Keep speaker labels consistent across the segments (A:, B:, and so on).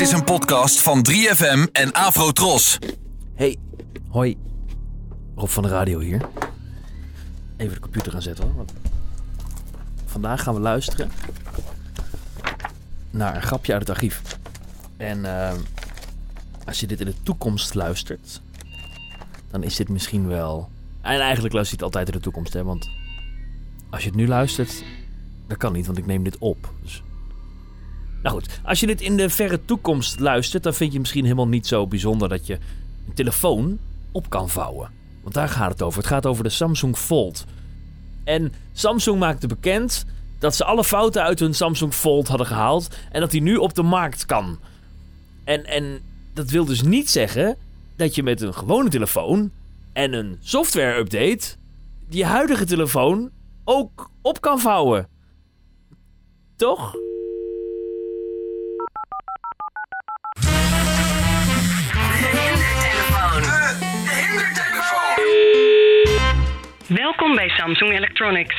A: is een podcast van 3FM en Afrotros.
B: Hey, hoi. Rob van de Radio hier. Even de computer aanzetten hoor. Want vandaag gaan we luisteren naar een grapje uit het archief. En eh, als je dit in de toekomst luistert, dan is dit misschien wel. En eigenlijk luister je het altijd in de toekomst, hè? Want als je het nu luistert, dat kan niet, want ik neem dit op. Dus... Nou goed, als je dit in de verre toekomst luistert, dan vind je het misschien helemaal niet zo bijzonder dat je een telefoon op kan vouwen. Want daar gaat het over. Het gaat over de Samsung Fold. En Samsung maakte bekend dat ze alle fouten uit hun Samsung Fold hadden gehaald en dat die nu op de markt kan. En, en dat wil dus niet zeggen dat je met een gewone telefoon en een software-update je huidige telefoon ook op kan vouwen. Toch?
C: Welkom bij Samsung Electronics.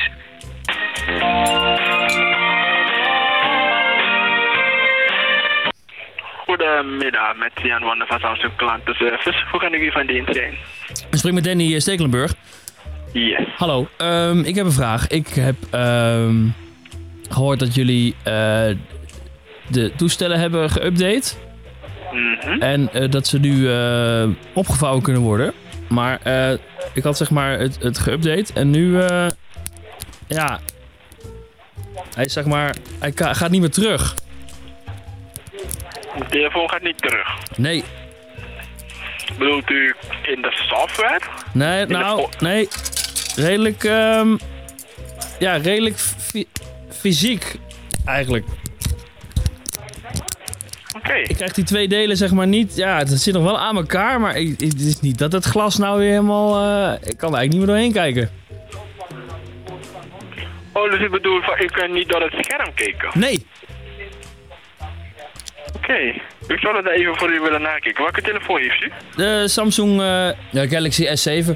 D: Goedemiddag, met Jan Wander van Samsung Klantenservice. eh, Hoe kan ik u van dienst zijn?
E: Ik spreek met Danny eh, Stekelenburg.
D: Yes.
E: Hallo, ehm, ik heb een vraag. Ik heb ehm, gehoord dat jullie eh, de toestellen hebben geüpdate.
D: Mhm.
E: En eh, dat ze nu eh, opgevouwen kunnen worden. Maar eh, ik had zeg maar het, het geüpdate en nu... eh, ja... Hij is, zeg maar... Hij ka- gaat niet meer terug.
D: De telefoon gaat niet terug.
E: Nee,
D: Bedoelt u in de software?
E: Nee,
D: de
E: nou,
D: fo-
E: nee. Redelijk, ehm, ja, redelijk fi- fysiek eigenlijk.
D: Oké.
E: Ik krijg die twee delen zeg maar niet, ja, het zit nog wel aan elkaar, maar ik- het is niet dat het glas nou weer helemaal, eh, ik kan er eigenlijk niet meer doorheen kijken.
D: Oh, dus ik bedoel van, ik kan niet door het scherm kijken.
E: Nee,
D: Oké. Ik zou dat even voor u willen nakijken. Welke telefoon heeft u?
E: de Samsung eh, ja, Galaxy S7.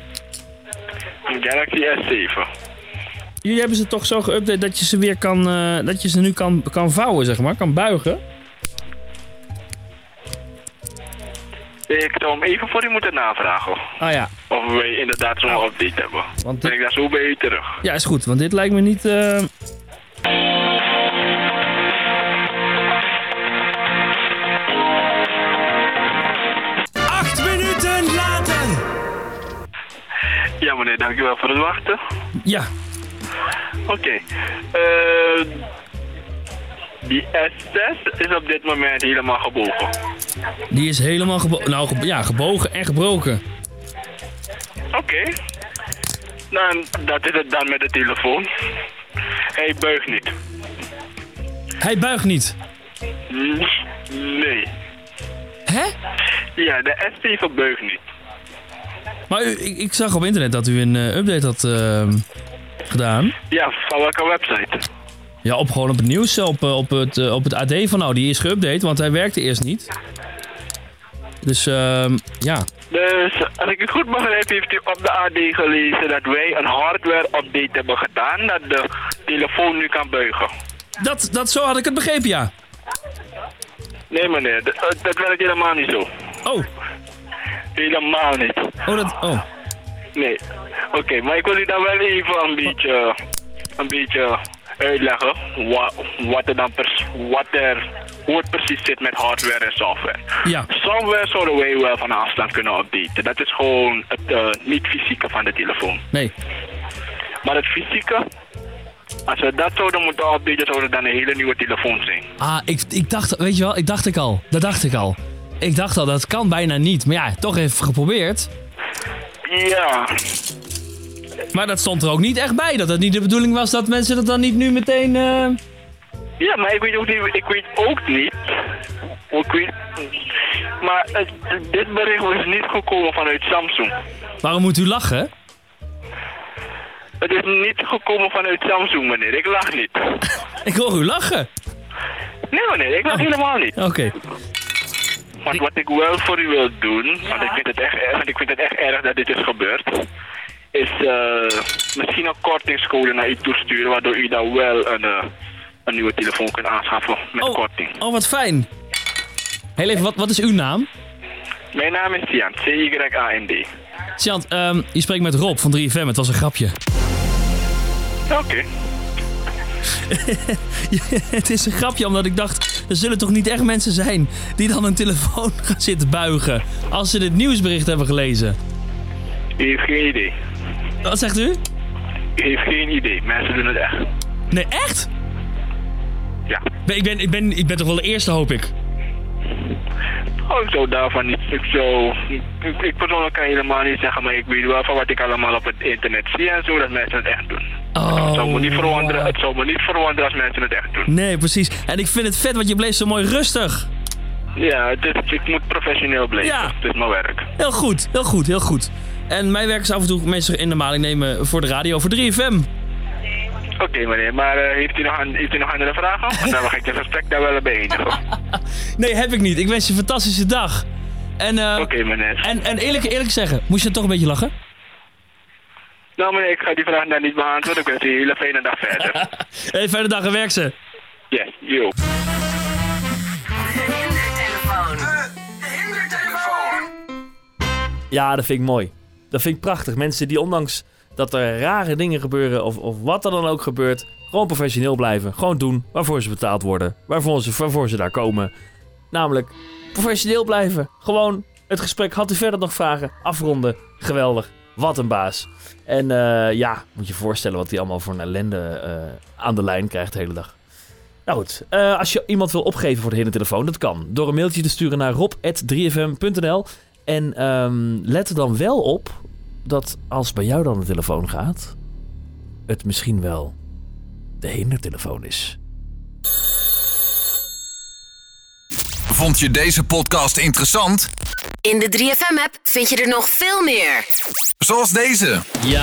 D: Een Galaxy S7.
E: Jullie hebben ze toch zo geüpdate dat je ze weer kan, eh, dat je ze nu kan, kan vouwen zeg maar, kan buigen.
D: Ik zou hem even voor u moeten navragen.
E: Ah ja,
D: Of wij inderdaad zo'n update hebben.
E: want
D: Ben
E: dit,
D: ik daar zo bij u terug?
E: ja is goed, want dit lijkt me niet, eh,
F: Acht minuten later.
D: Ja meneer, dankjewel voor het wachten.
E: ja,
D: Oké. Eh die S6 is op dit moment helemaal gebogen.
E: Die is helemaal gebo nou, ge- ja, gebogen en gebroken.
D: Oké. Dan, dat is het dan met de telefoon. Hij buigt niet.
E: Hij buigt niet.
D: Nee.
E: Hè?
D: Ja, de S7 buigt niet.
E: Maar u- ik, ik zag op internet dat u een eh, update had ehm, gedaan.
D: Ja, van welke website?
E: Ja, op gewoon op het nieuws, op, eh, op, het, eh, op het AD van nou, die is geüpdate, want hij werkte eerst niet. Dus ehm, ja.
D: Dus, als ik het goed begrijp, heeft u op de AD gelezen dat wij een hardware-update hebben gedaan, dat de telefoon nu kan buigen.
E: Dat, dat, zo had ik het begrepen, ja.
D: Nee meneer, dat, eh, dat werkt helemaal niet zo.
E: Oh,
D: Helemaal niet.
E: oh, dat, oh.
D: Nee. Oké, maar ik wil u dan wel even een beetje, een beetje eh, uitleggen wat, wat er dan pers, wat er, hoe het precies zit met hardware en software.
E: Ja,
D: Software zouden wij wel van afstand kunnen updaten. Dat is gewoon het eh, niet-fysieke van de telefoon.
E: nee.
D: Maar het fysieke, als we dat zouden moeten updaten, zou het dan een hele nieuwe telefoon zijn.
E: Ah, ik, ik dacht, weet je wel, ik dacht ik al. Dat dacht ik al. Ik dacht al, dat kan bijna niet. Maar ja, toch even geprobeerd.
D: Ja,
E: Maar dat stond er ook niet echt bij. Dat het niet de bedoeling was dat mensen dat dan niet nu meteen. eh,
D: ja maar ik weet ook niet, ik weet ook niet. Ik weet, maar het, dit bericht was niet gekomen vanuit Samsung.
E: Waarom moet u lachen?
D: Het is niet gekomen vanuit Samsung, meneer. Ik lach niet.
E: Ik hoor u lachen.
D: Nee, meneer, ik lach helemaal niet.
E: Oké.
D: Want wat ik wel voor u wil doen, want ik vind het echt, erg- want ik vind het echt erg dat dit is gebeurd, is eh, misschien een kortingscode naar u toesturen, waardoor u dan wel een, eh, een nieuwe telefoon kunt aanschaffen met
E: Oh,
D: korting.
E: oh, wat fijn. Heel even, wat, wat is uw naam?
D: Mijn naam is Tian, C-Y-A-N-D.
E: Sjant, ehm, je spreekt met Rob van 3FM. Het was een grapje.
D: Oké.
E: het is een grapje, omdat ik dacht... er zullen toch niet echt mensen zijn die dan een telefoon gaan zitten buigen... als ze dit nieuwsbericht hebben gelezen.
D: U heeft geen idee.
E: Wat zegt u?
D: U heeft geen idee. Mensen doen het echt.
E: Nee, echt?
D: Ja.
E: Ben- Ik ben, ik, ben, ik ben toch wel de eerste, hoop ik.
D: Oh, ik zou daarvan niet. Ik zou. Ik, ik persoonlijk kan helemaal niet zeggen, maar ik weet wel van wat ik allemaal op het internet zie en zo dat mensen het echt doen.
E: Oh,
D: Het zou me niet verwonderen,
E: wow.
D: het zou me niet verwonderen als mensen het echt doen.
E: Nee, precies. En ik vind het vet, want je bleef zo mooi rustig.
D: Ja, het is, ik moet professioneel blijven.
E: Ja.
D: Het is mijn werk.
E: Heel goed, heel goed, heel goed. En mijn werk is af en toe mensen in de maling nemen voor de radio, voor 3FM.
D: Oké meneer, maar eh, heeft, u nog aan, heeft u nog andere vragen? Want dan ga ik het gesprek daar wel beëindigen. Oké
E: Nee, heb ik niet. Ik wens je een fantastische dag. En, eh,
D: meneer.
E: en, en eerlijk, eerlijk zeggen, moest je dan toch een beetje lachen?
D: Nou meneer, ik ga die vraag daar niet beantwoorden. Ik wens u een hele fijne dag verder.
E: Hé, fijne dag en werk ze.
D: Yes, yo.
B: Ja, dat vind ik mooi. Dat vind ik prachtig. Mensen die ondanks dat er rare dingen gebeuren of, of wat er dan ook gebeurt, gewoon professioneel blijven. Gewoon doen waarvoor ze betaald worden. Waarvoor ze, waarvoor ze daar komen. Namelijk professioneel blijven. Gewoon het gesprek. Had u verder nog vragen? Afronden. Geweldig. Wat een baas. En eh, ja, moet je je voorstellen wat hij allemaal voor een ellende eh, aan de lijn krijgt de hele dag. Nou goed, eh, als je iemand wil opgeven voor de hele telefoon, dat kan. Door een mailtje te sturen naar rob.3fm.nl. En ehm, let er dan wel op dat als bij jou dan de telefoon gaat, het misschien wel de hindertelefoon is.
A: Vond je deze podcast interessant?
G: In de 3FM-app vind je er nog veel meer.
A: Zoals deze.
E: Ja,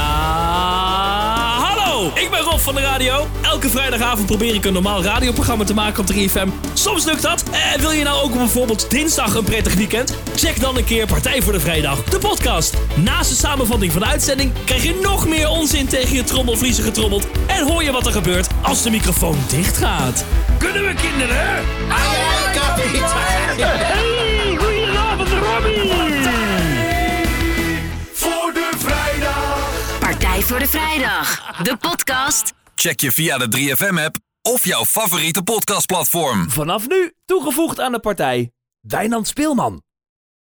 E: hallo! Ik ben Rob van de radio. Elke vrijdagavond probeer ik een normaal radioprogramma te maken op 3FM. Soms lukt dat. En wil je nou ook bijvoorbeeld dinsdag een prettig weekend? Check dan een keer Partij voor de Vrijdag, de podcast. Naast de samenvatting van de uitzending krijg je nog meer onzin tegen je trommelvliezen getrommeld. En hoor je wat er gebeurt als de microfoon dicht gaat. Kunnen we kinderen?
G: Partij voor de Vrijdag. De podcast.
A: Check je via de 3FM-app of jouw favoriete podcastplatform.
B: Vanaf nu toegevoegd aan de partij Wijnand Speelman.